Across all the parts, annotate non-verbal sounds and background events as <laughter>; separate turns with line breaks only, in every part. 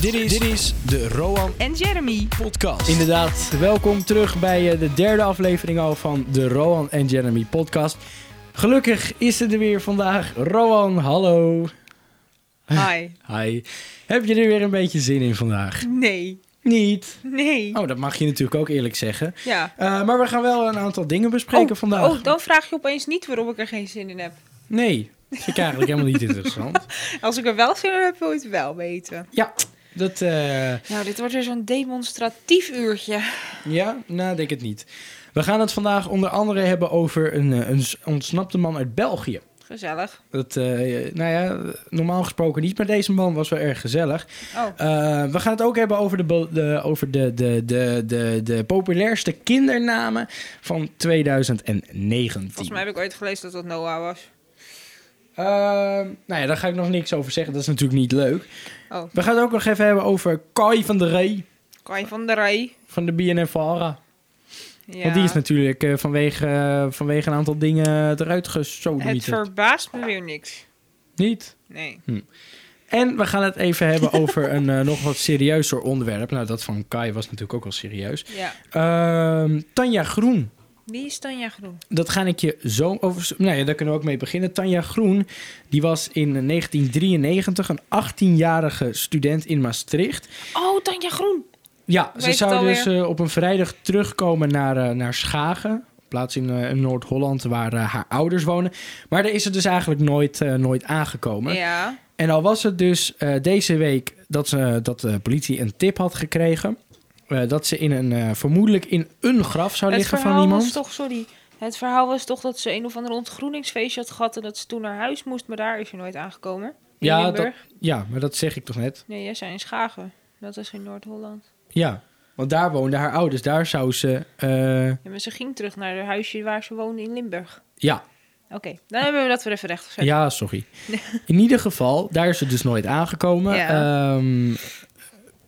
Dit is, dit is de Roan
en Jeremy.
Podcast.
Inderdaad, welkom terug bij eh, de derde aflevering al van de Roan en Jeremy podcast. Gelukkig is het er weer vandaag. Roan, hallo.
Hi.
Eh, Hi. Heb je er weer een beetje zin in vandaag?
Nee.
Niet.
Nee.
Oh, dat mag je natuurlijk ook eerlijk zeggen.
Ja.
Eh, maar we gaan wel een aantal dingen bespreken
oh,
vandaag.
Oh, dan vraag je opeens niet waarom ik er geen zin in heb.
Nee, vind ik eigenlijk helemaal niet
<laughs>
interessant.
Als ik er wel zin in heb, wil je het wel weten.
Ja, dat... eh,
Nou, dit wordt weer zo'n demonstratief uurtje.
Ja, nou, denk het niet. We gaan het vandaag onder andere hebben over een, eh, een s- ontsnapte man uit België.
Gezellig.
Dat, eh, nou ja, normaal gesproken niet, maar deze man was wel erg gezellig.
Oh.
Eh, we gaan het ook hebben over, de, be- de, over de, de, de, de, de populairste kindernamen van 2019.
Volgens mij heb ik ooit gelezen dat dat Noah was.
Eh, nou ja, daar ga ik nog niks over zeggen. Dat is natuurlijk niet leuk.
Oh,
We gaan het ook nog even hebben over Kai van der Rey
Kai van der Rij.
van de BNFARA.
Ja.
Want die is natuurlijk eh, vanwege, eh, vanwege een aantal dingen eruit
Het
gesodemieterd.
verbaast me weer niks.
Niet?
Nee.
En we gaan het even hebben <laughs> over een eh, nog wat serieuzer onderwerp. Nou, dat van Kai was natuurlijk ook wel serieus.
Ja.
Ehm, Tanja Groen.
Wie is Tanja Groen?
Dat ga ik je zo over. Nou ja, daar kunnen we ook mee beginnen. Tanja Groen, die was in 1993 een 18-jarige student in Maastricht.
Oh, Tanja Groen.
Ja,
Hoe
ze
heet het
zou dus
alweer?
eh, op een vrijdag terugkomen naar, eh, naar Schagen. Een plaats in, eh, in Noord-Holland waar eh, haar ouders wonen. Maar daar is ze dus eigenlijk nooit, eh, nooit aangekomen.
Ja.
En al was het dus eh, deze week dat, ze, dat de politie een tip had gekregen. eh, dat ze in een, eh, vermoedelijk in een graf zou
Het
Nou, liggen
verhaal
van iemand.
was toch, sorry. Het verhaal was toch dat ze een of ander ontgroeningsfeestje had gehad en dat ze toen naar huis moest, maar daar is ze nooit aangekomen. In
Ja,
Limburg.
Ja, maar dat zeg ik toch net.
Nee, jij zei in Schagen. Dat is in Noord-Holland.
Ja, want daar woonden haar ouders. Daar zou ze. eh,
Ja, maar ze ging terug naar het huisje waar ze woonde in Limburg.
ja,
Oké, dan hebben we dat weer even recht gezet.
ja, sorry. In ieder geval, daar is ze dus nooit aangekomen.
Ja.
Ja.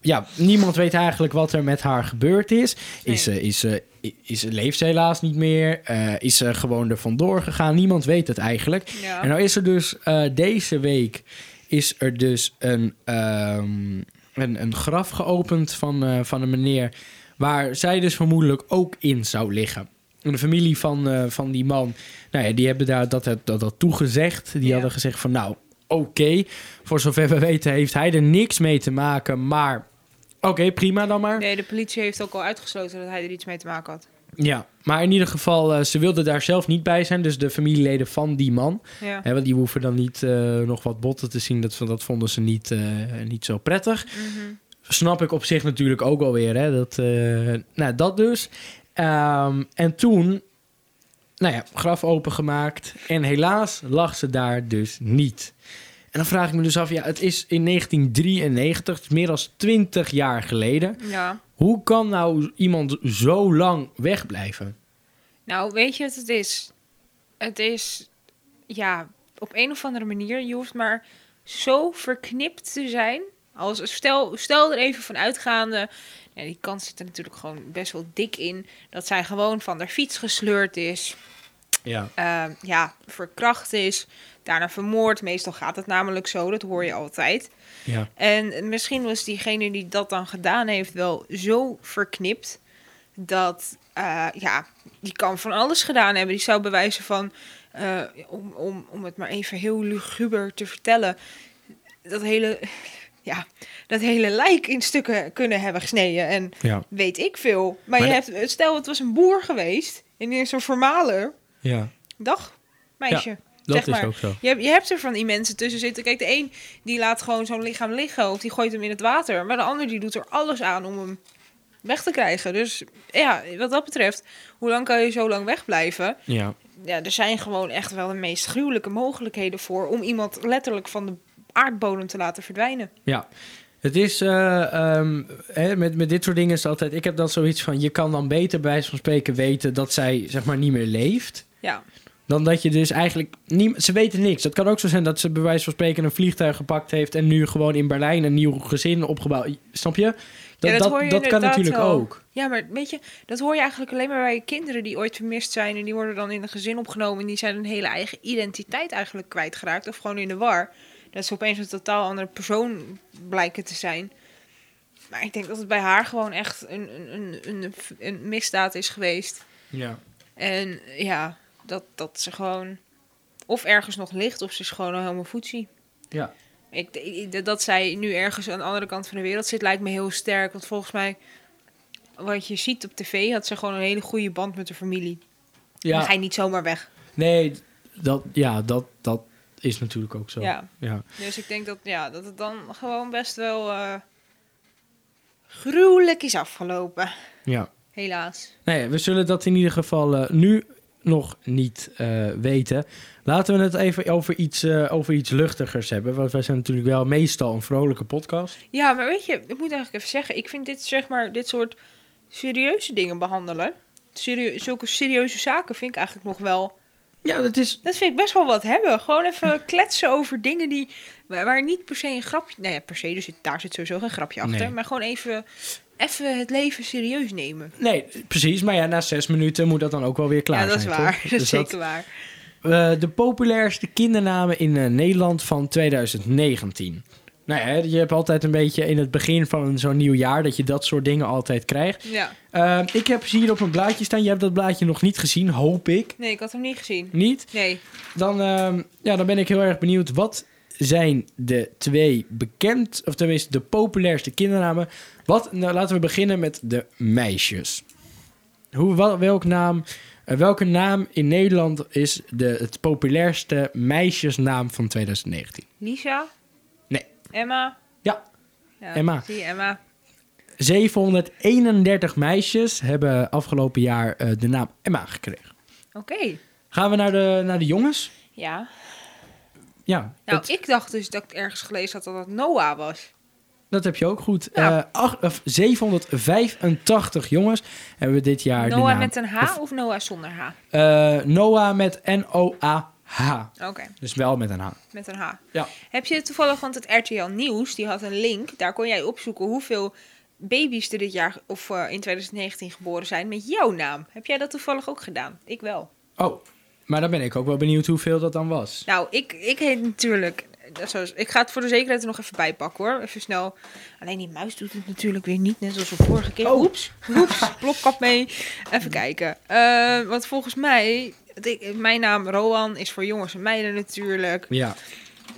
ja, niemand weet eigenlijk wat er met haar gebeurd is. Is,
Nee.
ze, is, ze, is, ze leeft ze helaas niet meer? Eh, is ze gewoon er vandoor gegaan? Niemand weet het eigenlijk.
Ja.
En nou is er dus eh, deze week is er dus een, ehm, een, een graf geopend van, eh, van een meneer waar zij dus vermoedelijk ook in zou liggen. En de familie van, eh, van die man, nou ja, die hebben daar dat, dat, dat, dat toegezegd. Die
Ja.
hadden gezegd van nou, oké, voor zover we weten heeft hij er niks mee te maken, maar oké, prima dan maar.
Nee, de politie heeft ook al uitgesloten dat hij er iets mee te maken had.
Ja, maar in ieder geval, eh, ze wilden daar zelf niet bij zijn, dus de familieleden van die man.
Ja.
Hè, want die hoeven dan niet eh, nog wat botten te zien. Dat, dat vonden ze niet, eh, niet zo prettig.
Mhm.
Snap ik op zich natuurlijk ook alweer. Hè, dat, eh, nou, dat dus. Ehm, en toen, nou ja, graf opengemaakt. En helaas lag ze daar dus niet. En dan vraag ik me dus af, ja, het is in 1993, het is meer dan 20 jaar geleden.
ja.
Hoe kan nou iemand zo lang wegblijven?
Nou, weet je wat het is? Het is, ja, op een of andere manier, je hoeft maar zo verknipt te zijn. Als, stel, stel er even van uitgaande, ja, die kans zit er natuurlijk gewoon best wel dik in, dat zij gewoon van haar fiets gesleurd is,
Ja.
eh, ja, verkracht is, daarna vermoord. Meestal gaat het namelijk zo, dat hoor je altijd.
ja.
En misschien was diegene die dat dan gedaan heeft wel zo verknipt dat, eh, ja, die kan van alles gedaan hebben. Die zou bewijzen van, eh, om, om, om het maar even heel luguber te vertellen, dat hele, <laughs> ja, dat hele lijk in stukken kunnen hebben gesneden. En
Ja.
weet ik veel. Maar,
Maar
je hebt, eh, stel het was een boer geweest en die is een formaler.
ja.
Dag, meisje.
Dat
Zeg
is
maar.
ook zo.
Je, hebt- je hebt er van die mensen tussen zitten. Kijk, de een die laat gewoon zo'n lichaam liggen of die gooit hem in het water. Maar de ander die doet er alles aan om hem weg te krijgen. Dus ja, wat dat betreft, hoe lang kan je zo lang wegblijven?
Ja.
Ja, er zijn gewoon echt wel de meest gruwelijke mogelijkheden voor om iemand letterlijk van de aardbodem te laten verdwijnen.
Ja, het is eh, ehm, hè, met, met dit soort dingen is het altijd. Ik heb dan zoiets van: je kan dan beter bij wijze van spreken weten dat zij zeg maar niet meer leeft.
Ja,
Dan dat je dus eigenlijk. Niet, ze weten niks. Het kan ook zo zijn dat ze bij wijze van spreken een vliegtuig gepakt heeft. en nu gewoon in Berlijn een nieuw gezin opgebouwd. Snap je? Dat,
dat hoor je
dat kan
inderdaad
natuurlijk
wel.
ook.
ja, maar weet je, dat hoor je eigenlijk alleen maar bij kinderen die ooit vermist zijn. En die worden dan in een gezin opgenomen. En die zijn hun hele eigen identiteit eigenlijk kwijtgeraakt. Of gewoon in de war. Dat ze opeens een totaal andere persoon blijken te zijn. Maar ik denk dat het bij haar gewoon echt een, een, een, een, een misdaad is geweest.
Ja.
En ja, dat, dat ze gewoon of ergens nog ligt of ze is gewoon een helemaal voetsie.
Ja.
Ik, ik- dat zij nu ergens aan de andere kant van de wereld zit lijkt me heel sterk. Want volgens mij, wat je ziet op tv, had ze gewoon een hele goede band met de familie. Dan ga
ja.
je niet zomaar weg.
Nee, dat, ja, dat, dat is natuurlijk ook zo.
Ja.
ja.
Dus ik denk dat, ja, dat het dan gewoon best wel eh, gruwelijk is afgelopen.
ja.
Helaas.
Nee, we zullen dat in ieder geval eh, nu nog niet eh, weten. Laten we het even over iets, eh, over iets luchtigers hebben. Want wij zijn natuurlijk wel meestal een vrolijke podcast.
Ja, maar weet je, ik moet eigenlijk even zeggen, ik vind dit, zeg maar, dit soort serieuze dingen behandelen. Serie- zulke serieuze zaken vind ik eigenlijk nog wel.
Ja, dat is...
Dat vind ik best wel wat hebben. Gewoon even <laughs> kletsen over dingen die. waar waar niet per se een grapje. Nou ja, per se, dus daar zit sowieso geen grapje achter.
Nee.
Maar gewoon even, even het leven serieus nemen.
Nee, precies. Maar ja, na zes minuten moet dat dan ook wel weer klaar
ja, dat
zijn,
is
toch?
waar. <laughs> Dat is
Dus
zeker waar.
eh, de populairste kindernamen in eh, Nederland van 2019. Nou ja, je hebt altijd een beetje in het begin van zo'n nieuw jaar... dat je dat soort dingen altijd krijgt.
Ja.
Eh, ik heb ze hier op een blaadje staan. Je hebt dat blaadje nog niet gezien, hoop ik.
Nee, ik had hem niet gezien.
Niet?
Nee.
Dan, ehm, ja, dan ben ik heel erg benieuwd. Wat zijn de twee bekend, of tenminste de populairste kindernamen? Wat, nou, laten we beginnen met de meisjes. Hoe, wel, welk naam, eh, welke naam in Nederland is de, het populairste meisjesnaam van 2019?
Lisa?
Nee.
Emma?
Ja.
Ja,
Emma.
Zie je, Emma.
731 meisjes hebben afgelopen jaar eh, de naam Emma gekregen.
Oké.
Gaan we naar de, naar de jongens?
Ja.
Ja,
Nou,
het-
ik dacht dus dat ik ergens gelezen had dat dat Noah was.
Dat heb je ook goed.
Ja.
Eh, acht- of 785 jongens hebben we dit jaar de
Noah
naam.
met een H
Of-
of Noah zonder H?
Eh, Noah met N-O-A-H.
Oké,
Dus wel met een H.
met een H.
Ja.
Heb je toevallig, want het RTL Nieuws, die had een link. Daar kon jij opzoeken hoeveel baby's er dit jaar of eh, in 2019 geboren zijn met jouw naam. Heb jij dat toevallig ook gedaan? Ik wel.
Oh, maar dan ben ik ook wel benieuwd hoeveel dat dan was.
Nou, ik, ik heet natuurlijk... eh, Zoals, ik ga het voor de zekerheid er nog even bij pakken hoor. Even snel. Alleen die muis doet het natuurlijk weer niet, net zoals de vorige keer.
Oh.
Oeps,
<laughs>
oeps, plopkap mee. Even kijken. Eh, want volgens mij, ik- mijn naam Roan is voor jongens en meiden natuurlijk.
Ja,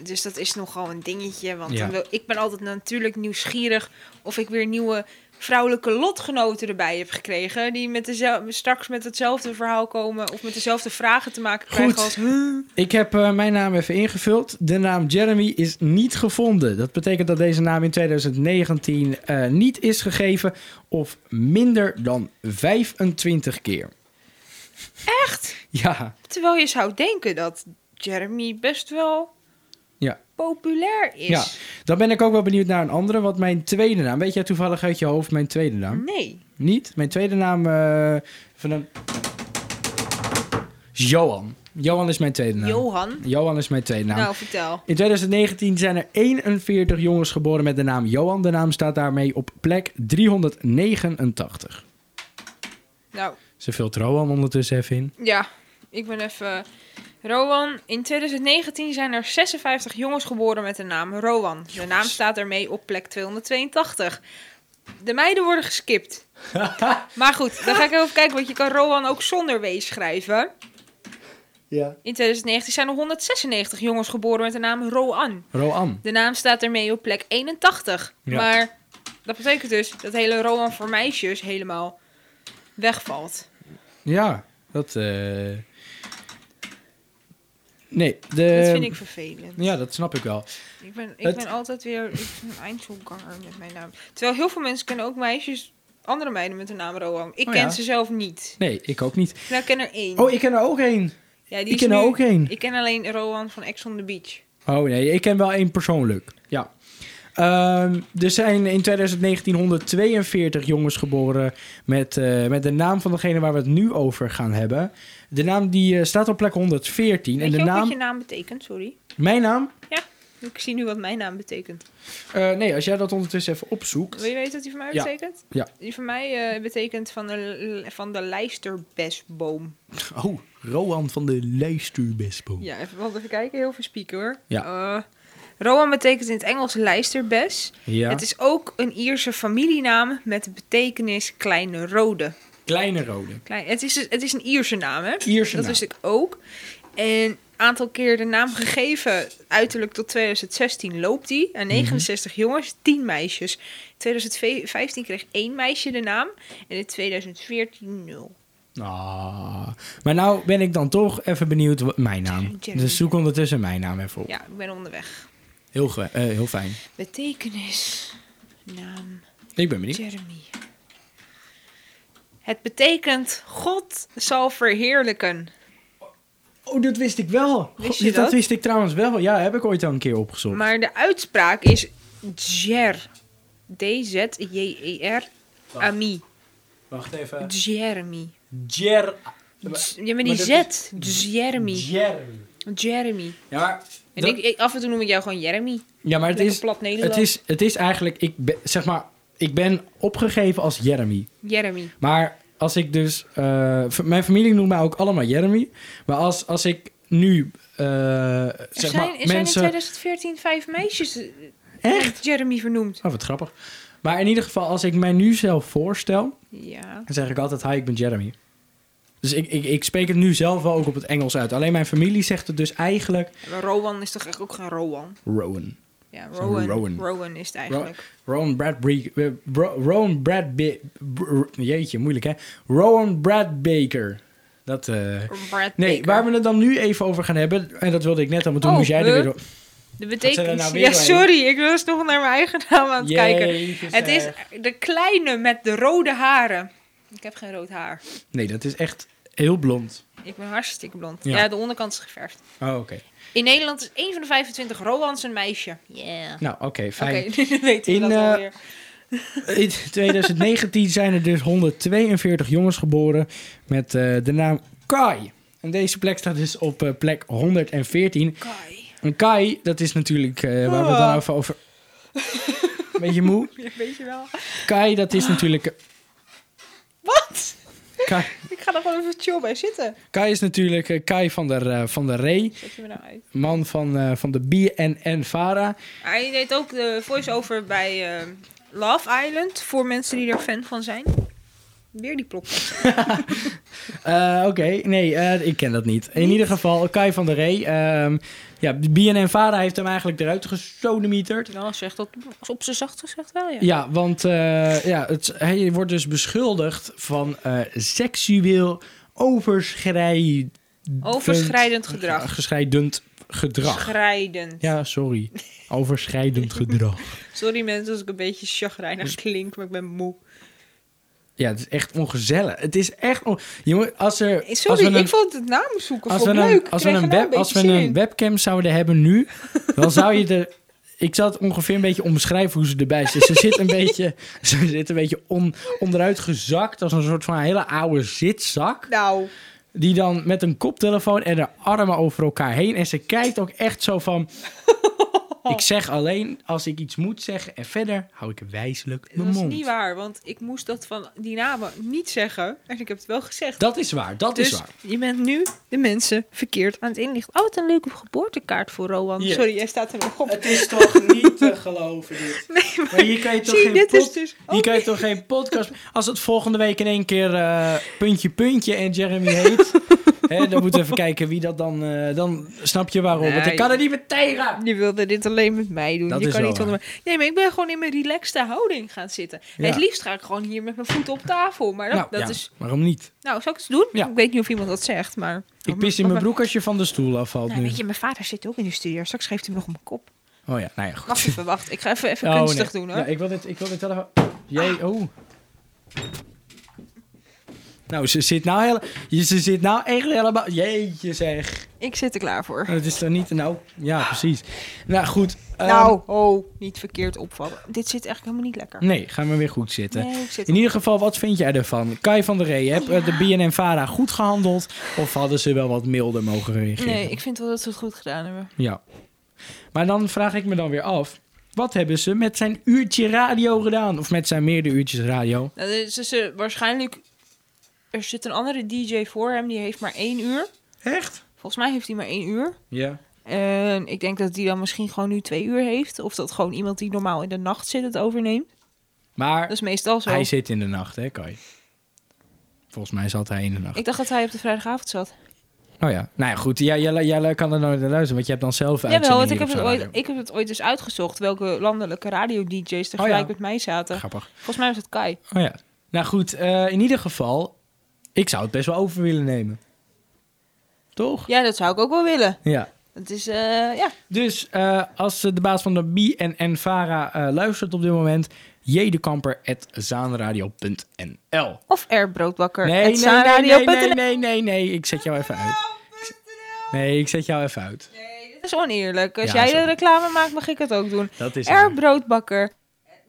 Dus dat is nogal een dingetje. Want
Ja.
dan wil, ik ben altijd natuurlijk nieuwsgierig of ik weer nieuwe vrouwelijke lotgenoten erbij heb gekregen. Die met dezel- straks met hetzelfde verhaal komen of met dezelfde vragen te maken krijgen
Goed.
als... "Huh?"
ik heb eh, mijn naam even ingevuld. De naam Jeremy is niet gevonden. Dat betekent dat deze naam in 2019 eh, niet is gegeven of minder dan 25 keer.
Echt?
Ja,
Terwijl je zou denken dat Jeremy best wel
Ja.
populair is.
Ja. dan ben ik ook wel benieuwd naar een andere. Wat mijn tweede naam, weet jij toevallig uit je hoofd mijn tweede naam?
Nee.
Niet. Mijn tweede naam eh, van een... is Johan. Johan is mijn tweede naam.
Johan?
Johan is mijn tweede naam.
Nou, vertel.
In 2019 zijn er 41 jongens geboren met de naam Johan. De naam staat daarmee op plek 389.
Nou,
Ze vult Rohan ondertussen even in.
Ja, ik ben even. Rowan, in 2019 zijn er 56 jongens geboren met de naam Rowan. De naam staat ermee op plek 282. De meiden worden
<laughs>
geskipt. maar goed, dan ga ik even kijken, want je kan Rowan ook zonder W schrijven.
Ja.
In 2019 zijn er 196 jongens geboren met de naam Roan.
Roan.
De naam staat ermee op plek 81.
Ja.
Maar dat betekent dus dat hele Rowan voor meisjes helemaal wegvalt.
Ja, dat... eh, Nee, de...
dat vind ik vervelend.
Ehm, Ja, dat snap ik wel.
Ik ben, ik
Het-
ben altijd weer ik ben een eindselganger met mijn naam. Terwijl heel veel mensen kennen ook meisjes, andere meiden met de naam Roan. Ik
Oh
ken
ja.
ze zelf niet.
Nee, ik ook niet.
Nou, ik ken er één.
Oh, ik ken er ook één.
ja, die
ik
is
ken er
nu-
ook één.
Ik ken alleen Roan van Ex on the Beach.
Oh nee, ik ken wel één persoonlijk. Ja. Ehm, er zijn in 2019 142 jongens geboren met, eh, met de naam van degene waar we het nu over gaan hebben. De naam die eh, staat op plek 114.
Weet
en de
je ook
naam,
wat je naam betekent? Sorry.
mijn naam?
Ik zie nu wat mijn naam betekent.
Eh, nee, als jij dat ondertussen even opzoekt.
Wil je weten wat die van mij
Ja.
betekent?
Ja.
Die van mij eh, betekent van de, van de lijsterbesboom.
Oh, Roan van de Lijstuurbespo.
Ja, even, want even kijken. Heel veel spieken hoor.
Ja.
Eh, Rowan betekent in het Engels lijsterbes.
Ja.
Het is ook een Ierse familienaam met de betekenis kleine rode.
Kleine rode.
Klein, het, is, dus- het is een Ierse naam, hè?
Ierse
dat
naam.
wist ik ook. En aantal keer de naam gegeven, uiterlijk tot 2016 loopt die.
Mhm.
Aan 69 jongens, 10 meisjes. In 2015 kreeg één meisje de naam en in 2014 nul.
Ah. Maar nou ben ik dan toch even benieuwd wat mijn naam.
Jeremy.
Dus zoek ondertussen mijn naam even op.
Ja, ik ben onderweg.
Heel, ge- eh, heel fijn.
Betekenis, naam,
Ik ben benieuwd.
Jeremy. Het betekent God zal verheerlijken.
Oh, dat wist ik wel.
Wist
Goh,
je dat?
wist ik trouwens wel. Ja, heb ik ooit al een keer opgezocht.
Maar de uitspraak is Jer. D-Z-J-E-R. E
Ah.
Ami.
Wacht even.
Jeremy.
Jer...
J- Ja, maar die
maar
Z.
dat
Jeremy.
Jeremy.
Jeremy.
Ja, maar...
En ik,
dat-
ik- af en toe noem ik jou gewoon Jeremy.
ja, maar het
Lekker
is,
plat
het,
Nederlands.
is, het is eigenlijk... Ik ben, zeg maar, ik ben opgegeven als Jeremy.
Jeremy.
Maar als ik dus... eh, v- mijn familie noemt mij ook allemaal Jeremy. Maar als, als ik nu... eh,
Er,
zeg
zijn,
maar,
er zijn in
mensen...
2014 vijf meisjes eh,
Echt?
met Jeremy vernoemd.
Oh, wat grappig. Maar in ieder geval, als ik mij nu zelf voorstel...
Ja.
Dan zeg ik altijd, hi, ik ben Jeremy. Dus ik, ik, ik spreek het nu zelf wel ook op het Engels uit. Alleen mijn familie zegt het dus eigenlijk
Maar Rowan is toch echt ook geen Rowan?
Rowan.
Ja,
Zo'n
Rowan.
Rowan.
Rowan. is het eigenlijk.
Rowan Bradbury... eh, Bro- Rowan Bradby... Br- Jeetje, moeilijk hè. Rowan Bradbaker. Dat... eh,
Brad
Nee,
Baker.
waar we het dan nu even over gaan hebben... En dat wilde ik net al, maar toen
Oh,
moest jij er
huh?
weer op...
De
Wat zijn er
betekenis.
nou weer
ja,
doorheen?
sorry. Ik was nog naar mijn eigen naam aan het kijken.
Jeetje,
Het is
zeg.
de kleine met de rode haren. Ik heb geen rood haar.
Nee, dat is echt heel blond.
Ik ben hartstikke blond.
Ja.
Ja, de onderkant is geverfd.
Oh, oké.
In Nederland is één van de 25 Roans een meisje. Yeah.
Nou, oké, fijn.
Oké, <laughs> nu weten we
In,
dat
eh,
alweer.
In 2019 zijn er dus 142 jongens geboren met eh, de naam Kai. En deze plek staat dus op eh, plek 114.
Kai.
En Kai, dat is natuurlijk eh, waar we het dan over... over... Beetje moe.
Ja, weet je wel.
Kai, dat is natuurlijk...
Wat?
Kai,
Ik ga er gewoon even chill bij zitten.
Kai is natuurlijk eh, Kai van der, eh, van der Ree.
Zet je me nou uit.
Man van, eh, van de BNN Vara.
Hij deed ook de voice-over bij eh, Love Island. Voor mensen die er fan van zijn. Weer die plok.
Eh, Oké, nee, eh, ik ken dat niet. In ieder geval, Kai van der Ree. ehm, ja, BNN Vara heeft hem eigenlijk eruit gesodemieterd.
Nou, zegt dat op zijn zacht gezegd wel, ja.
Ja, want eh, ja, het, hij wordt dus beschuldigd van eh, seksueel overschrijdend...
Overschrijdend gedrag.
Geschrijdend gedrag.
Schrijdend.
ja, sorry. Overschrijdend gedrag.
Sorry mensen als ik een beetje
Dus-
chagrijnig klink, maar ik ben moe.
Ja, het is echt ongezellig. Het is echt... On... Jongen, als er... als
Sorry,
we een-
ik vond het naam zoeken
als
vond
we,
ik
een,
leuk.
als, we
Kreeg er
een
nou
web, als we
beetje
een
zin
webcam zouden hebben nu, dan zou je er... Ik zal het ongeveer een beetje omschrijven hoe ze erbij zit. Ze zit een beetje, ze zit een beetje on, onderuit gezakt als een soort van hele oude zitzak.
in. Nou,
Die dan met een koptelefoon en haar armen over elkaar heen. En ze kijkt ook echt zo van... Ik zeg alleen als ik iets moet zeggen. En verder hou ik wijselijk
dat
mijn
is
mond.
niet waar, want ik moest dat van die namen niet zeggen. En ik heb het wel gezegd.
Dat is waar, dat
dus
is waar.
je bent nu de mensen verkeerd aan het inlichten. Oh, wat een leuke geboortekaart voor Rowan.
Hier.
Sorry, jij staat er <laughs> nog op.
Het is toch niet eh, te
<laughs>
geloven dit.
Nee, maar
Eh, Maar hier kan je toch,
zie,
geen,
dit is
pod-
dus...
hier kan je toch geen podcast... Als het volgende week in één keer eh, puntje puntje en
<laughs>
Jeremy heet... hè, dan moeten we even kijken wie dat dan... eh, dan snap je waarom. Want
Nee.
ik kan er niet meer tegen.
Oh, Je wilde dit alleen met mij doen.
Dat
je
is
kan
wel
niet onder mij- Nee, maar ik ben gewoon in mijn relaxte houding gaan zitten.
Ja.
Het liefst ga ik gewoon hier met mijn voeten op tafel. Maar dat,
nou,
dat
ja,
is
waarom niet?
Nou, zou ik het eens doen?
Ja.
Ik weet niet of iemand dat zegt, maar...
Ik pis in mijn broek als je van de stoel afvalt
Nou,
nu.
weet je, mijn vader zit ook in de studio. Straks geeft hij me nog op mijn kop.
Oh ja, nou ja, goed.
Wacht even, wacht. Ik ga even, even
Oh, nee.
kunstig doen, hoor. Ah.
Ja, ik wil dit, ik wil dit wel even... Jij, oh. Nou, ze zit nou, hele, je- ze zit nou echt helemaal... Jeetje zeg.
Ik zit er klaar voor.
Het is toch niet... Nou, ja, precies. Nou, goed. ehm,
nou, oh, niet verkeerd opvallen. Dit zit echt helemaal niet lekker.
Nee, gaan we weer goed zitten.
Nee, ik zit...
eh, In ieder geval, wat vind jij ervan? Kai van der Rey, heb eh, de BNN-Vara goed gehandeld? Of hadden ze wel wat milder mogen reageren?
Nee, ik vind wel dat ze het goed gedaan hebben.
Ja. Maar dan vraag ik me dan weer af... Wat hebben ze met zijn uurtje radio gedaan? Of met zijn meerdere uurtjes radio?
Nou, dus ze- ze- waarschijnlijk... Er zit een andere DJ voor hem, die heeft maar één uur.
Echt?
Volgens mij heeft hij maar één uur.
Ja.
Eh, En ik denk dat die dan misschien gewoon nu twee uur heeft. Of dat gewoon iemand die normaal in de nacht zit het overneemt.
Maar
Dat is meestal zo.
hij zit in de nacht, hè, Kai? Volgens mij zat hij in de nacht.
Ik dacht dat hij op de vrijdagavond zat.
Oh ja. Nou ja, goed. Ja, jij, jij kan er nooit naar luisteren, want je hebt dan zelf een
Jawel, want ik
uitzending
heb, het
hier op
ooit,
zo'n
ik heb het ooit dus uitgezocht. Welke landelijke radio-dj's
Oh
tegelijk
ja.
met mij
radio.
zaten.
Grappig.
Volgens mij was het Kai.
Oh ja. Nou goed, eh, in ieder geval, ik zou het best wel over willen nemen. Toch?
Ja, dat zou ik ook wel willen.
Ja.
Het is, eh, ja.
Dus eh, als eh, de baas van de BNN Vara eh, luistert op dit moment, jdekamper.zaanradio.nl.
Of Airbroodbakker.
Nee, nee,
at
nee, nee,
zaanradio.nl.
nee, nee, nee, nee, ik zet jou even uit. Nee, ik zet jou even uit.
Dat is oneerlijk. Als
Ja,
jij
sorry.
de reclame maakt, mag ik het ook doen.
Dat is waar.
Airbroodbakker.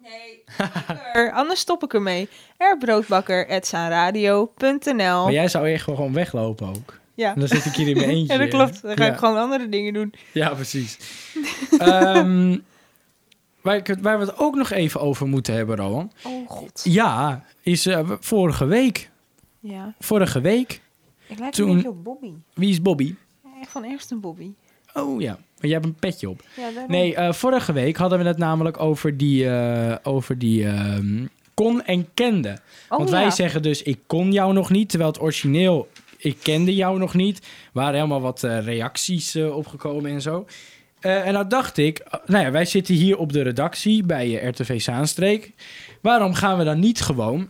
Nee,
<laughs>
bakker. anders stop ik ermee. Airbroodbakker at zaanradio.nl.
Maar jij zou echt wel gewoon weglopen ook.
Ja.
En dan zit ik hier
<laughs>
in mijn eentje.
ja, dat klopt. Dan ga
Ja.
ik gewoon andere dingen doen.
Ja, precies. <laughs> Ehm, waar, ik het- waar we het ook nog even over moeten hebben, Rowan.
Oh god.
Ja, is eh, vorige week.
Ja,
Vorige week.
ik lijk
Toen-
een beetje op Bobby.
Wie is Bobby?
Echt van eerst een Bobby.
Oh ja, maar jij hebt een petje op.
Ja, daarom.
Nee, eh, vorige week hadden we het namelijk over die, eh, over die ehm, kon en kende.
Oh,
Want wij
ja.
zeggen dus ik kon jou nog niet, terwijl het origineel ik kende jou nog niet. Er waren helemaal wat eh, reacties eh, opgekomen en zo. Eh, en nou dacht ik, eh, nou ja, wij zitten hier op de redactie bij eh, RTV Zaanstreek. Waarom gaan we dan niet gewoon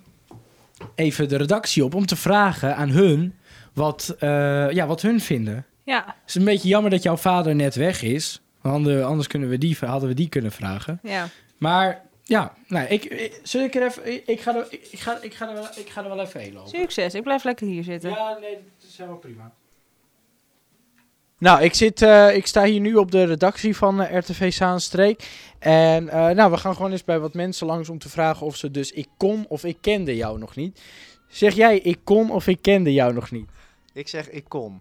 even de redactie op om te vragen aan hun wat, eh, ja, wat hun vinden?
Ja,
Het is een beetje jammer dat jouw vader net weg is. Want ander- Anders kunnen we die, hadden we die kunnen vragen.
ja.
Maar ja, nou, ik, ik, zul ik er even... Ik ga er, ik ga, ik ga er, wel, ik ga er wel even heen lopen.
Succes. Ik blijf lekker hier zitten.
Ja, nee, dat is helemaal prima. Nou, ik, zit, eh, ik sta hier nu op de redactie van eh, RTV Zaanstreek. En eh, nou, we gaan gewoon eens bij wat mensen langs om te vragen of ze dus ik kon of ik kende jou nog niet. Zeg jij ik kon of ik kende jou nog niet?
Ik zeg ik kon.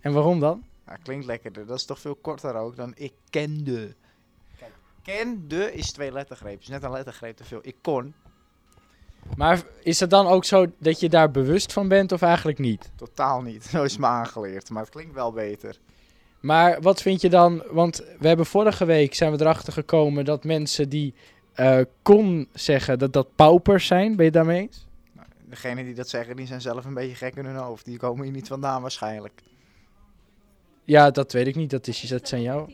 En waarom dan?
Nou, klinkt lekkerder. Dat is toch veel korter ook dan ik kende. Kijk, kende is twee lettergrepen. Is net een lettergreep te veel. Ik kon.
Maar is het dan ook zo dat je daar bewust van bent of eigenlijk niet?
Totaal niet. <laughs> Zo is het me aangeleerd. Maar het klinkt wel beter.
Maar wat vind je dan? Want we hebben vorige week zijn we erachter gekomen dat mensen die eh, kon zeggen dat dat paupers zijn. Ben je het daarmee eens?
Degenen die dat zeggen, die zijn zelf een beetje gek in hun hoofd. Die komen hier niet vandaan waarschijnlijk.
Ja, dat weet ik niet. Dat, is, dat zijn jou.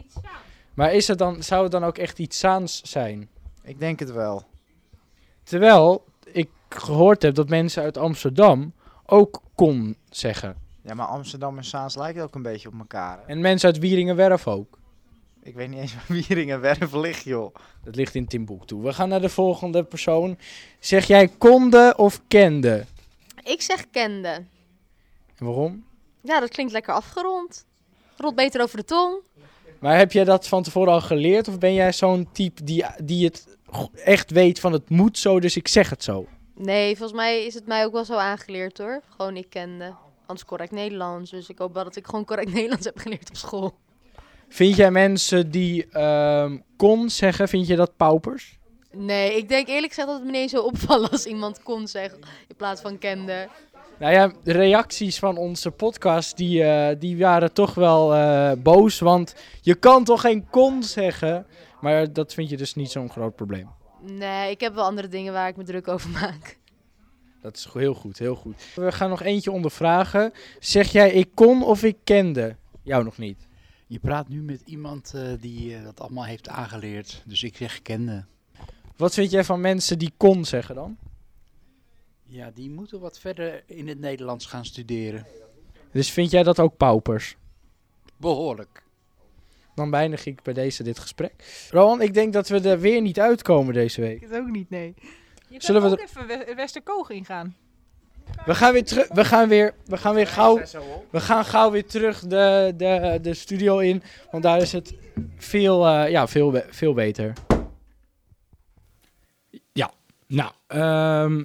Maar is het dan, zou het dan ook echt iets Saans zijn?
Ik denk het wel.
Terwijl ik gehoord heb dat mensen uit Amsterdam ook kon zeggen.
Ja, maar Amsterdam en Saans lijken ook een beetje op elkaar. hè?
En mensen uit Wieringenwerf ook.
Ik weet niet eens <laughs> waar Wieringenwerf ligt, joh.
Dat ligt in Timbuktu. We gaan naar de volgende persoon. Zeg jij konde of kende?
Ik zeg kende.
En waarom?
Ja, dat klinkt lekker afgerond. Rolt beter over de tong.
Maar heb jij dat van tevoren al geleerd? Of ben jij zo'n type die, die het go- echt weet van het moet zo, dus ik zeg het zo?
Nee, volgens mij is het mij ook wel zo aangeleerd hoor. Gewoon ik kende. Anders correct Nederlands. Dus ik hoop wel dat ik gewoon correct <laughs> Nederlands heb geleerd op school.
Vind jij mensen die ehm, kon zeggen, vind je dat paupers?
Nee, ik denk eerlijk gezegd dat het me niet eens zou opvallen als iemand kon zeggen in plaats van kende.
Nou ja, de reacties van onze podcast die, eh, die waren toch wel eh, boos. Want je kan toch geen kon zeggen? Maar dat vind je dus niet zo'n groot probleem.
Nee, ik heb wel andere dingen waar ik me druk over maak.
Dat is go- heel goed, heel goed. We gaan nog eentje ondervragen. Zeg jij ik kon of ik kende? Jou nog niet.
Je praat nu met iemand eh, die eh, dat allemaal heeft aangeleerd. Dus ik zeg kende.
Wat vind jij van mensen die kon zeggen dan?
Ja, die moeten wat verder in het Nederlands gaan studeren.
Dus vind jij dat ook paupers?
Behoorlijk.
Dan beëindig ik bij deze dit gesprek. Rowan, ik denk dat we er weer niet uitkomen deze week.
Ik het ook niet, nee. Je
Zullen
kan
we
ook even We- Westerkoog ingaan.
We gaan weer terug. We gaan weer. We gaan weer gauw. We gaan gauw weer terug de, de, de studio in. Want daar is het veel, eh, ja, veel, be- veel beter. Ja, nou.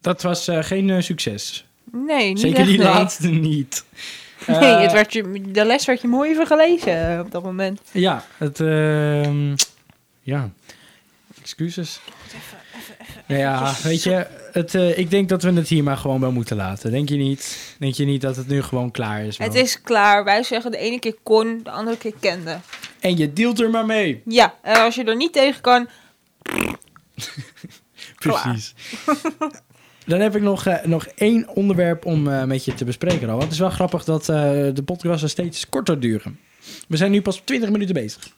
dat was eh, geen succes.
Nee, niet echt, nee.
niet.
<laughs>
Eh,
Nee, het werd je, de les werd je mooi vergelezen eh, op dat moment.
Ja, het. ehm, ja. Excuses. Nou ja, weet je, het, eh, ik denk dat we het hier maar gewoon bij moeten laten. Denk je niet? Denk je niet dat het nu gewoon klaar is?
Het
Mo?
is klaar. Wij zeggen de ene keer kon, de andere keer kende.
En je deelt er maar mee.
Ja, en als je er niet tegen kan, nou, Klaar.
Precies. Dan heb ik nog, eh, nog één onderwerp om eh, met je te bespreken. Rowan. Het is wel grappig dat eh, de podcasten steeds korter duren. We zijn nu pas 20 minuten bezig.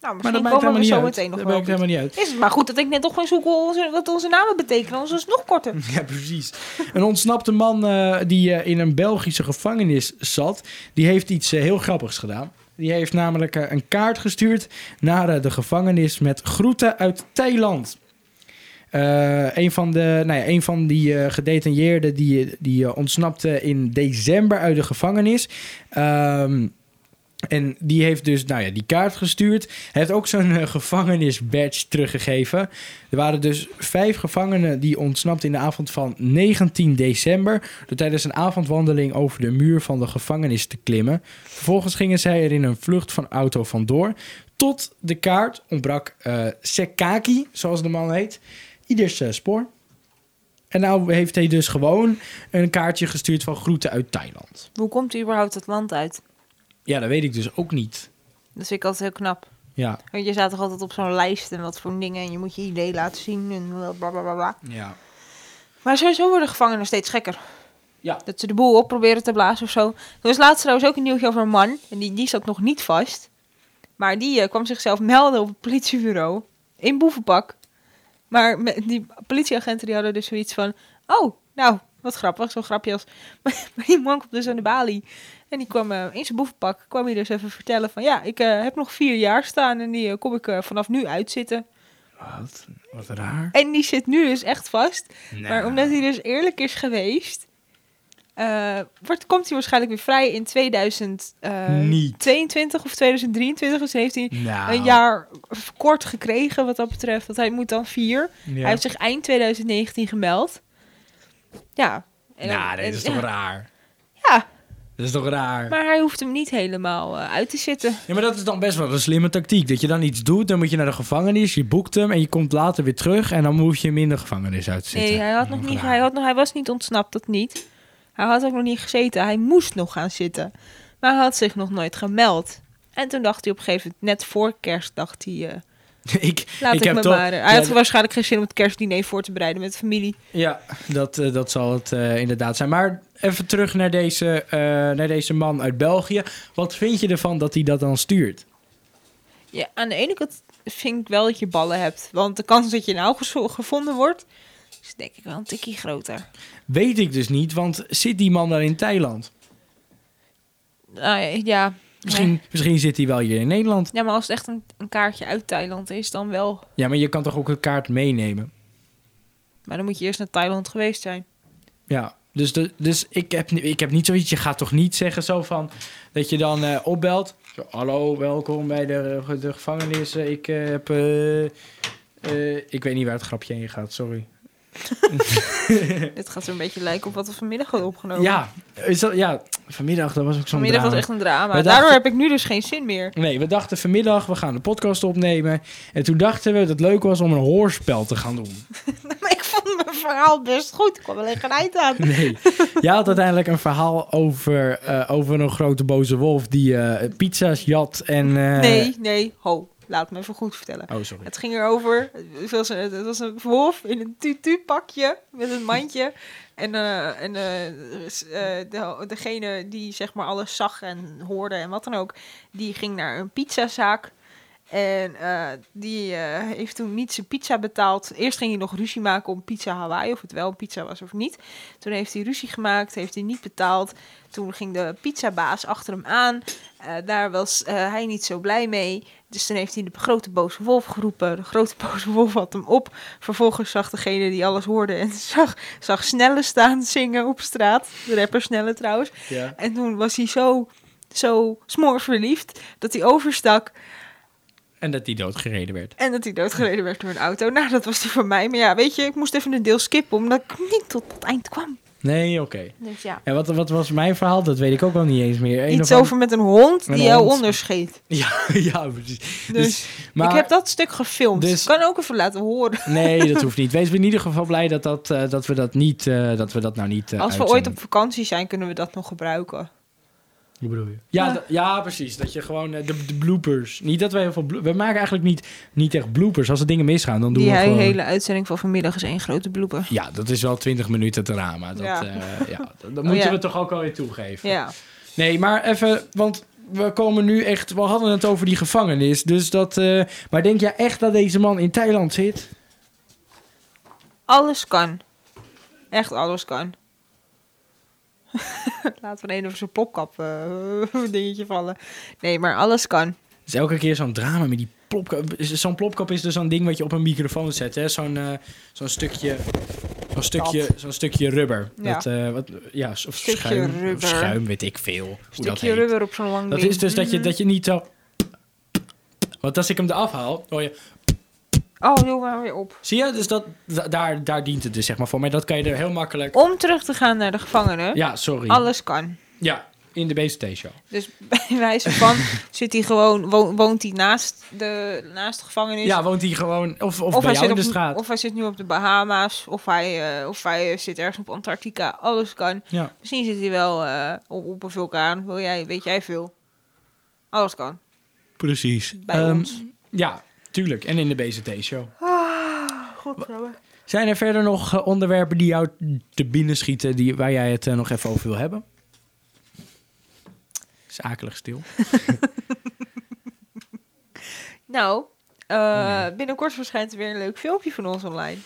nou,
Maar
misschien
dat maakt
komen
helemaal
we
niet
zo
uit.
meteen nog
Dat
wel.
maakt helemaal niet uit.
op. Is het maar goed dat ik net nog ging zoeken onze- wat onze namen betekenen, anders is het nog korter.
<laughs> Ja, precies. Een ontsnapte man eh, die eh, in een Belgische gevangenis zat, die heeft iets eh, heel grappigs gedaan. Die heeft namelijk eh, een kaart gestuurd naar eh, de gevangenis met groeten uit Thailand. Eh, een, van de, nou ja, een van die eh, gedetailleerden die, die eh, ontsnapte in december uit de gevangenis. Ehm, en die heeft dus nou ja, die kaart gestuurd. Hij heeft ook zo'n eh, gevangenisbadge teruggegeven. Er waren dus vijf gevangenen die ontsnapten in de avond van 19 december. Door tijdens een avondwandeling over de muur van de gevangenis te klimmen. Vervolgens gingen zij er in een vlucht van auto vandoor. Tot de kaart ontbrak eh, Sekaki, zoals de man heet, ieders eh, spoor. En nou heeft hij dus gewoon een kaartje gestuurd van groeten uit Thailand.
Hoe komt u überhaupt het land uit?
Ja, dat weet ik dus ook niet.
Dat vind ik altijd heel knap.
Ja,
Want je staat toch altijd op zo'n lijst en wat voor dingen en je moet je idee laten zien en blablabla.
ja.
Maar sowieso worden gevangenen steeds gekker.
Ja.
Dat ze de boel op proberen te blazen of zo. Er was laatst trouwens ook een nieuwtje over een man. En die, die zat nog niet vast. Maar die eh, kwam zichzelf melden op het politiebureau. In boevenpak. Maar me- die politieagenten die hadden dus zoiets van... Oh, nou, wat grappig. Zo'n grapje als... <laughs> Maar, die man komt dus aan de balie. En die kwam eh, in zijn boevenpak. Kwam hij dus even vertellen van... Ja, ik eh, heb nog vier jaar staan. En die eh, kom ik eh, vanaf nu uitzitten.
Wat, wat raar.
En die zit nu dus echt vast.
Nee.
Maar omdat hij dus eerlijk is geweest, eh, wordt, komt hij waarschijnlijk weer vrij in 2022 of 2023. Dus heeft hij
Nou,
een jaar kort gekregen wat dat betreft. Want hij moet dan vier.
Ja.
Hij heeft zich eind 2019 gemeld. Ja. En dan-
Nou,
en-
dit is toch
ja.
raar?
Ja.
Dat is toch
<laughs>
raar?
Maar hij hoeft hem niet helemaal eh, uit te zitten.
Ja, maar dat is dan best wel een slimme tactiek. Dat je dan iets doet, dan moet je naar de gevangenis, je boekt hem en je komt later weer terug en dan hoef je hem in de gevangenis uit te zitten.
Nee, hij, had nog niet, hij, had nog, hij was niet ontsnapt, dat niet. Hij had ook nog niet gezeten. Hij moest nog gaan zitten. Maar hij had zich nog nooit gemeld. En toen dacht hij op een gegeven moment, net voor kerst, dacht hij... eh,
<laughs> ik,
laat
ik
ik,
heb
me
toch-
maar. eh, Hij
ja,
had
d-
waarschijnlijk geen zin om het kerstdiner voor te bereiden met de familie.
ja, dat, eh, dat zal het eh, inderdaad zijn. Maar even terug naar deze, eh, naar deze man uit België. Wat vind je ervan dat hij dat dan stuurt?
Ja, aan de ene kant vind ik wel dat je ballen hebt. Want de kans dat je nou gezo- gevonden wordt, is denk ik wel een tikkie groter.
Weet ik dus niet, want zit die man daar in Thailand?
Nou ja, ja,
Misschien, misschien zit hij wel hier in Nederland.
Ja, maar als het echt een, een kaartje uit Thailand is, dan wel.
Ja, maar je kan toch ook een kaart meenemen?
Maar dan moet je eerst naar Thailand geweest zijn.
Ja, dus, de, dus ik, heb, ni- ik heb niet zoiets. Je gaat toch niet zeggen zo van dat je dan eh, opbelt. Zo, Hallo, welkom bij de, de gevangenis. Eh, Ik eh, heb. eh, eh, ik weet niet waar het grapje heen gaat, sorry.
Dit gaat er een beetje lijken op wat we vanmiddag hadden opgenomen.
Ja, is dat, ja, vanmiddag, dat was ook zo'n
Oh. Vanmiddag was
drama.
echt een drama.
Wij
Daardoor
dachten-
heb ik nu dus geen zin <laughs> meer.
Nee, we dachten vanmiddag, we gaan de podcast opnemen. En toen dachten we dat het leuk was om een hoorspel te gaan
<laughs>
doen.
Maar ik vond mijn verhaal best goed. Ik kwam alleen geen eind aan.
Nee. Jij had uiteindelijk een verhaal over, eh, over een grote boze wolf die eh, pizza's jat en... eh,
Nee, nee, ho. Laat me even goed vertellen.
Oh, sorry.
Het ging erover. Het was een, het was een wolf in een tutu-pakje met een mandje. En, eh, en eh, s- eh, de, degene die zeg maar alles zag en hoorde en wat dan ook, die ging naar een pizzazaak. En eh, die eh, heeft toen niet zijn pizza betaald. Eerst ging hij nog ruzie maken om pizza Hawaii, of het wel een pizza was of niet. Toen heeft hij ruzie gemaakt, heeft hij niet betaald. Toen ging de pizzabaas achter hem aan. Eh, daar was eh, hij niet zo blij mee. Dus toen heeft hij de grote boze wolf geroepen. De grote <laughs> boze wolf had hem op. Vervolgens zag degene die alles hoorde en <laughs> zag, zag Snelle staan zingen op straat. De rapper Snelle trouwens.
Ja.
En toen was hij zo, zo smoorverliefd dat hij overstak.
En dat die doodgereden werd.
En dat hij doodgereden werd door een auto. Nou, dat was die van mij. Maar ja, weet je, ik moest even een deel skippen omdat ik niet tot het eind kwam.
Nee, oké.
Dus ja.
En wat, wat was mijn verhaal? Dat weet ik ook al niet eens meer. Een
Iets
of
over met een hond
Met
die
een
jou
hond.
onderscheet.
ander- <laughs> Ja, precies.
Dus,
Maar...
ik heb dat stuk gefilmd.
Dus-
Ik kan ook even laten horen.
Nee, dat hoeft niet. Wees in ieder geval blij dat, dat, eh, dat we dat niet, eh, dat we dat nou niet eh,
Als we ooit
uitzenden.
op vakantie zijn, kunnen we dat nog gebruiken.
Hoe bedoel je? Ja,
Ja.
d- ja, precies. Dat je gewoon eh, de, de bloopers. Niet dat wij heel veel blo- We maken eigenlijk niet, niet echt bloopers. Als er dingen misgaan, dan doen
die
we
hij-
gewoon...
hele uitzending van vanmiddag is één grote bloepen.
Ja, dat is wel twintig minuten te raam. Maar dat,
Ja. Oh,
ja.
<laughs>
ja, dat, dat moeten
ja.
we toch ook wel weer toegeven.
Ja.
Nee, maar even, want we komen nu echt... We hadden het over die gevangenis, dus dat... eh, maar denk jij echt dat deze man in Thailand zit?
Alles kan. Echt alles kan. <laughs> Laat van een of zijn popkap eh, <laughs> dingetje vallen. Nee, maar alles kan.
Het is Dus elke keer zo'n drama met die plopkap. Zo'n plopkap is dus zo'n ding wat je op een microfoon zet, hè? Zo'n eh, zo'n stukje... Zo'n stukje, zo'n stukje rubber.
Ja.
Dat, eh, wat, ja, of
Stukje
schuim. of
rubber.
schuim, weet ik veel. Hoe dat
Stukje
heet.
rubber op zo'n lang
Dat
ding.
is dus dat je, dat je niet zo... Want als ik hem eraf haal, hoor je...
Oh, doe maar weer op.
Zie je? Dus dat, da- daar, daar dient het dus zeg maar voor. Maar dat kan je er heel makkelijk...
Om terug te gaan naar de gevangenen.
Ja, sorry.
Alles kan.
Ja, in de BCT-show.
Dus <laughs> bij wijze van zit hij gewoon, wo- woont hij naast de, naast de gevangenis.
Ja, woont hij gewoon... Of, of, bij jou
zit
in de
op,
straat.
Of hij zit nu op de Bahama's. Of hij, eh, of hij eh, zit ergens op Antarctica. Alles kan.
Ja.
Misschien zit hij wel eh, op, op een vulkaan. Wil jij, weet jij veel? Alles kan.
Precies. Ehm,
Bij ons.
Ja, tuurlijk. En in de BCT-show. Zijn er verder nog eh, onderwerpen die jou te binnen schieten... Die, waar jij het eh, nog even over wil hebben? Is akelig stil.
Nou, eh,
Hmm.
binnenkort verschijnt er weer een leuk filmpje van ons online.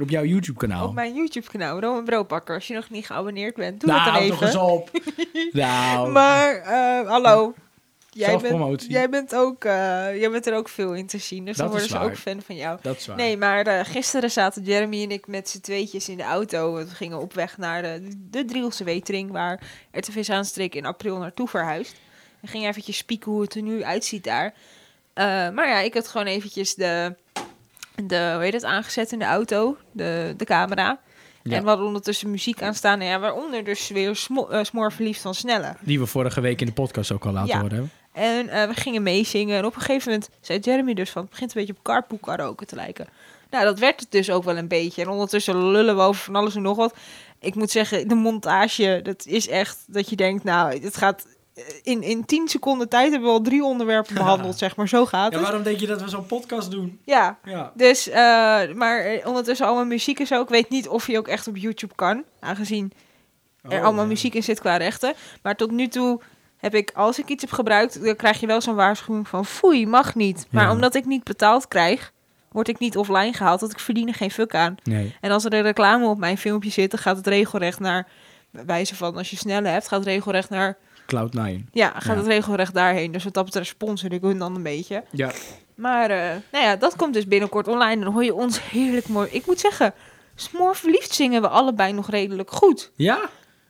Op jouw YouTube-kanaal.
Op mijn YouTube-kanaal, Roman Broodbakker. Als je nog niet geabonneerd bent, doe
nou,
dat dan
hou
even.
toch eens op.
<laughs>
nou,
Maar, eh, hallo. Jij bent,
Zelfpromotie.
jij, bent ook, eh, jij bent er ook veel in te zien. Dus
Dat
dan worden
is
ze
waar.
ook fan van jou.
dat is waar.
Nee, maar eh, gisteren zaten Jeremy en ik met z'n tweetjes in de auto. We gingen op weg naar de, de Drielse Wetering, waar RTV Zaanstreek in april naartoe verhuist. We gingen eventjes spieken hoe het er nu uitziet daar. Eh, maar ja, ik had gewoon eventjes de, de hoe heet het, aangezet in de auto, de, de camera.
Ja.
En we hadden ondertussen muziek aan staan. Ja, waaronder dus weer smo, eh, Smoor verliefd van Snelle.
Die we vorige week in de podcast ook al laten
Ja.
horen. hebben.
En eh, we gingen meezingen. En op een gegeven moment zei Jeremy dus van... het begint een beetje op carpool karaoke te lijken. Nou, dat werd het dus ook wel een beetje. En ondertussen lullen we over van alles en nog wat. Ik moet zeggen, de montage, dat is echt dat je denkt... nou, het gaat... In, in tien seconden tijd hebben we al drie onderwerpen behandeld, zeg maar. Zo gaat
Ja,
het.
waarom denk je dat we zo'n podcast doen?
Ja,
Ja.
dus, eh, maar eh, ondertussen allemaal muziek en zo. Ik weet niet of je ook echt op YouTube kan, aangezien er
Oh,
allemaal
ja.
muziek in zit qua rechten. Maar tot nu toe heb ik, als ik iets heb gebruikt, dan krijg je wel zo'n waarschuwing van foei, mag niet. Maar
Ja.
omdat ik niet betaald krijg, word ik niet offline gehaald, want ik verdien er geen fuck aan.
Nee.
En als er een reclame op mijn filmpje zit, dan gaat het regelrecht naar, bij wijze van als je snelle hebt, gaat het regelrecht naar,
Cloud9.
ja, gaat
Ja.
het regelrecht daarheen. Dus wat dat betreft sponsor ik hun dan een beetje.
Ja.
Maar eh, nou ja, dat komt dus binnenkort online. En dan hoor je ons heerlijk mooi. Ik moet zeggen, smoor verliefd zingen we allebei nog redelijk goed.
Ja?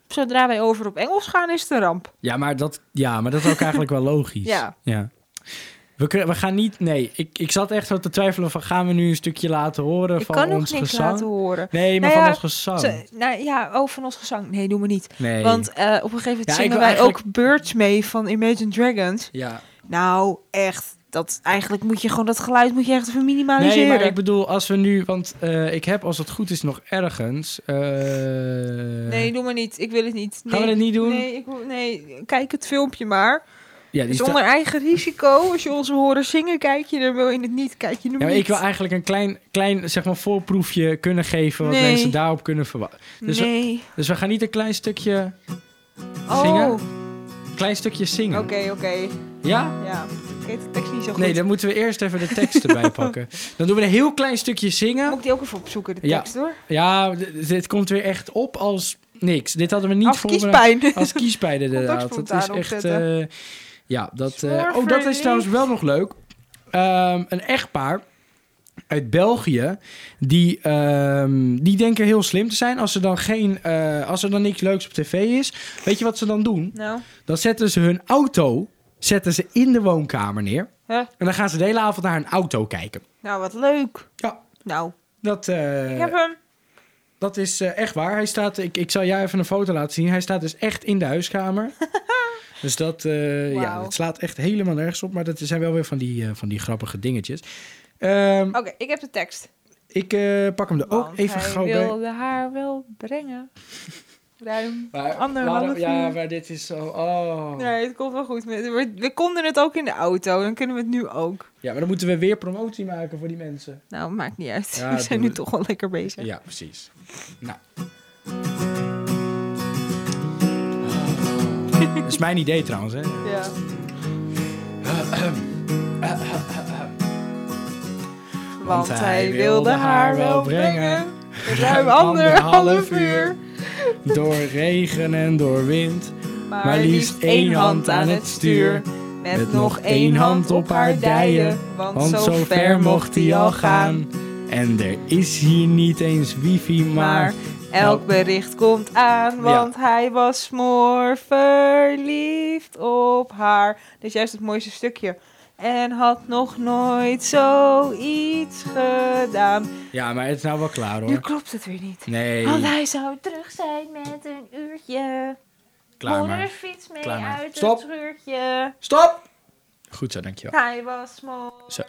Zodra wij over op Engels gaan, is het een ramp.
Ja, maar dat, ja, maar dat is ook eigenlijk wel logisch.
<laughs> Ja.
ja. We, kun- we gaan niet... Nee, ik, ik zat echt wel te twijfelen van... gaan we nu een stukje laten horen
Ik
van
kan ook
ons
niks
gezang?
laten horen.
Nee, maar
Nou ja,
van ons gezang.
Ze- nou ja, oh, van ons gezang. Nee, doen we niet.
nee.
Want eh, op een gegeven moment
Ja, ik
zingen
wil
wij
eigenlijk-
ook Birds mee van Imagine Dragons.
Ja.
Nou, echt. Dat, eigenlijk moet je gewoon dat geluid moet Nou, dus je echt even minimaliseren.
Nee, maar ik bedoel, als we nu... Want eh, ik heb, als het goed is, nog ergens... eh,
Nee, doe maar niet. Ik wil het niet.
Gaan we dat niet doen?
Nee, ik, wil- nee, kijk het filmpje maar.
ja, die
Zonder
sta-
eigen risico. Als je ons wil horen zingen, kijk je er wel in het niet. Kijk je er
ja, maar
niet.
ik wil eigenlijk een klein, klein zeg maar, voorproefje kunnen geven... wat
Nee.
mensen daarop kunnen verwachten. dus-
nee.
Dus we gaan niet een klein stukje,
Oh,
zingen?
oké,
klein stukje zingen.
oké.
Ja?
Ja, ik weet de tekst niet zo goed.
Nee, dan moeten we eerst even de
<laughs>
tekst erbij pakken. Dan doen we een heel klein stukje
Moet
zingen.
ik die ook even opzoeken, de
Ja.
tekst hoor.
Ja, d- dit komt weer echt op als niks. Dit hadden we niet
Als
voorbereid.
kiespijn.
Als kiespijn inderdaad. Dat
Contactspontaan
is echt...
opzetten.
eh, ja, dat... eh,
Zwaar
oh, dat is
verliefd.
trouwens wel nog leuk. Ehm, een echtpaar uit België... Die, ehm, die denken heel slim te zijn. Als er, dan geen, eh, als er dan niks leuks op tv is... Weet je wat ze dan doen?
<laughs> Nou,
Dan zetten ze hun auto zetten ze in de woonkamer neer.
hè?
En dan gaan ze de hele avond naar hun auto kijken.
nou wat leuk.
Ja.
Nou,
Dat, eh,
ik heb hem.
dat is eh, echt waar. Hij staat, ik, ik zal jou even een foto laten zien. Hij staat dus echt in de
<laughs>
huiskamer. dus dat, eh, ja,
Wauw.
dat slaat echt helemaal nergens op. Maar dat zijn wel weer van die, eh, van die grappige dingetjes. Ehm,
Oké, ik heb de tekst.
Ik eh, pak hem er ook
Want
even
hij
gauw bij.
wilde haar wel brengen. Ruim
Maar,
anderhalf
ja,
uur.
maar dit is zo... Oh.
Nee, het komt wel goed. We, we konden het ook in de auto, dan kunnen we het nu ook.
Ja, maar dan moeten we weer promotie maken voor die mensen.
Nou, maakt niet uit. <laughs>
Ja,
we zijn
doe
nu
het.
toch wel lekker bezig.
Ja, precies.
<laughs>
Nou. Dat is mijn idee trouwens, hè?
Ja. Want hij wilde haar wel brengen. Ruim anderhalf uur.
Door regen en door wind.
Maar liefst één hand aan het stuur. Met nog één hand op haar dijen. Want
Want
zo ver mocht hij al gaan.
En er is hier niet eens wifi, maar...
Maar
Nou.
elk bericht komt aan, want hij was smoor verliefd op haar. Dat is juist het mooiste stukje. En had nog nooit zoiets gedaan.
Ja, maar het is nou wel klaar,
Nu Oh,
hoor.
klopt het weer niet.
Nee,
Want hij zou terug zijn met een uurtje.
klaar
Moeder
maar.
fiets mee
Klaar maar.
uit
Stop.
het schuurtje.
Stop! Goed zo, dankjewel.
Hij was
<laughs>
smoor
Zo.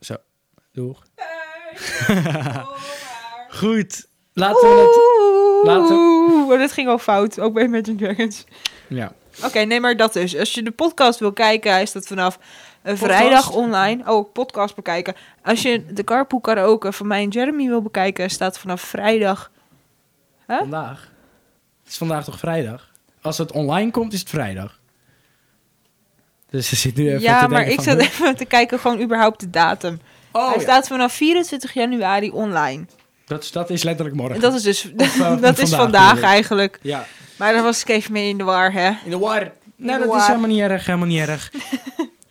Zo. Doeg.
verliefd op haar.
Goed. Laten we het... laten
Oeh, maar dit ging al fout, ook bij Imagine Dragons.
Ja.
Oké, nee, maar dat dus. Als je de podcast wil kijken, is dat vanaf eh, vrijdag online. Oh, podcast bekijken. Als je de Carpool Karaoke van mij en Jeremy wil bekijken, staat vanaf vrijdag. Huh?
Vandaag. Het is vandaag toch vrijdag? Als het online komt, is het vrijdag. Dus ze zit nu even
ja,
te
maar
denken
ik
van,
zat
huh?
even te kijken, gewoon überhaupt de datum.
Oh,
<laughs> Hij
ja.
staat vanaf 24 januari online.
dat, is- dat is letterlijk morgen.
En dat is dus <laughs>
eh,
dat is
vandaag
vandaag
bedoel ik.
eigenlijk.
Ja.
Maar daar was ik even mee in de war, hè?
In de war. Nou,
de
dat
war.
is helemaal niet erg, helemaal niet
<laughs>
erg.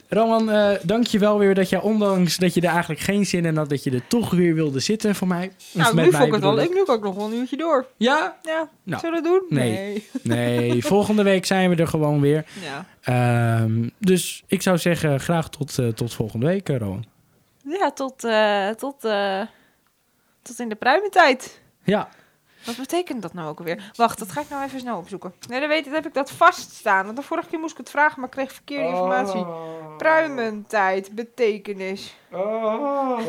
Roman, eh dank je wel weer dat jij, ondanks dat je er eigenlijk geen zin in had, dat je er toch weer wilde zitten voor mij. Of
Nou,
met
nu
mij,
vond ik het wel
bedoel
leuk. Nu kan ik nog wel een uurtje door.
Ja?
Ja,
Nou,
zullen we dat doen?
nee. <laughs>
<laughs>
Nee, volgende week zijn we er gewoon weer.
Ja.
Ehm, dus ik zou zeggen, graag tot, eh, tot volgende week, eh, Roman.
Ja, tot, eh, tot, eh, tot in de pruimentijd.
Ja,
Wat betekent dat nou ook alweer? Wacht, dat ga ik nou even snel opzoeken. Nee, dan weet ik, dan heb ik dat vaststaan. Want de vorige keer moest ik het vragen, maar ik kreeg
Oh.
verkeerde informatie. Pruimentijd, betekenis.
Oh.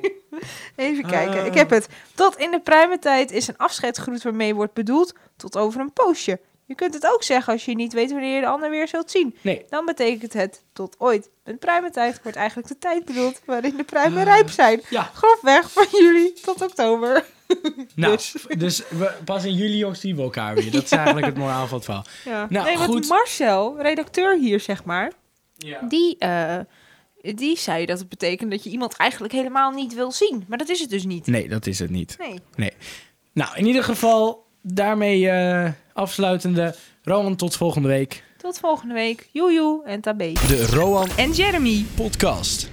<laughs> even
Ah.
kijken, ik heb het. Tot in de pruimentijd is een afscheidsgroet waarmee wordt bedoeld tot over een poosje. Je kunt het ook zeggen als je niet weet wanneer je de ander weer zult zien.
nee.
Dan betekent het tot ooit. Met pruimentijd wordt eigenlijk de tijd bedoeld waarin de pruimen rijp zijn.
Ah. Ja.
Grofweg van juli tot oktober.
Nou,
Dus.
dus, we, pas in juli of zien we elkaar weer. Dat is eigenlijk het moraal van het verhaal.
Ja.
Nou,
nee, want
goed.
Marcel, redacteur hier zeg maar,
Ja.
die, eh, die zei dat het betekent dat je iemand eigenlijk helemaal niet wil zien. Maar dat is het dus niet.
Nee, dat is het niet.
Nee.
Nou, in ieder geval, daarmee eh, afsluitende. Roman, tot volgende week.
Tot volgende week. Joejoe en tabé.
De Roan
En Jeremy.
Podcast.